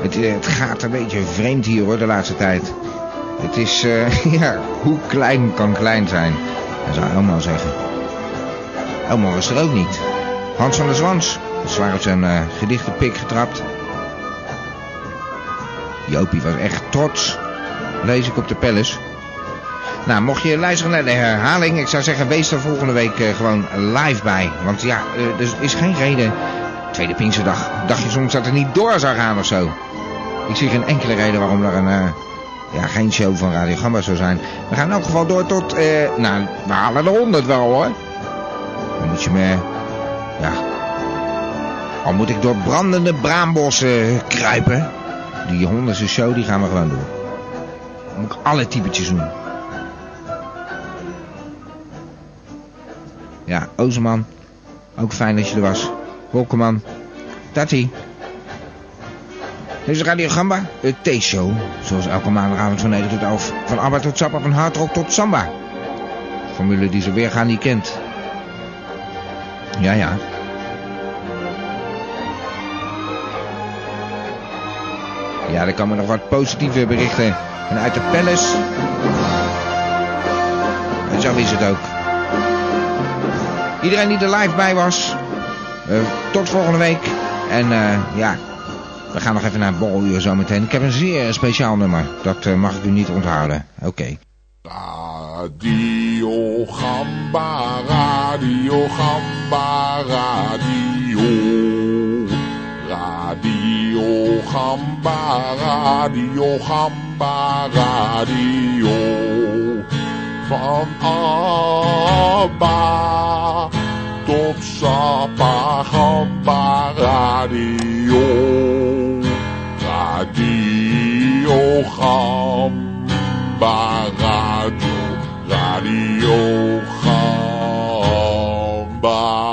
Speaker 2: Het, eh, het gaat een beetje vreemd hier hoor de laatste tijd. Het is, eh, <laughs> ja, hoe klein kan klein zijn? Dat zou Elmo zeggen. Elmo was er ook niet. Hans van der Zwans is zwaar op zijn eh, gedichtenpik getrapt. Jopie was echt trots, lees ik op de Palace. Nou, mocht je luisteren naar de herhaling, ik zou zeggen, wees er volgende week eh, gewoon live bij. Want ja, eh, er is geen reden. Tweede Pinksterdag, dacht je soms dat het niet door zou gaan of zo? Ik zie geen enkele reden waarom er een, eh, ja, geen show van Radio Gamba zou zijn. We gaan in elk geval door tot, eh, nou, we halen de 100 wel hoor. Dan moet je me, ja, al moet ik door brandende braambossen kruipen. Die honderdste show, die gaan we gewoon doen. Dan moet ik alle typetjes doen. Ja, Ozeman. Ook fijn dat je er was. Wolkeman. Tati. Dit is Radio Gamba, het T-show. Zoals elke maandagavond van 9 tot 11. Van ABBA tot Zappa, van hardrock tot samba. Formule die ze weer gaan niet kent. Ja, ja. Ja, er komen nog wat positieve berichten. En uit de Palace. En zo is het ook. Iedereen die er live bij was, eh, tot volgende week. En eh, ja, we gaan nog even naar het borreluur zo meteen. Ik heb een zeer speciaal nummer. Dat eh, mag ik u niet onthouden. Oké.
Speaker 11: Radio Gamba, Radio Gamba, Radio. Radio Gamba, Radio Gamba, Radio. Van Abba tot Zappa, Gamba, Radio. Radio Gamba, Radio. Radio Gamba.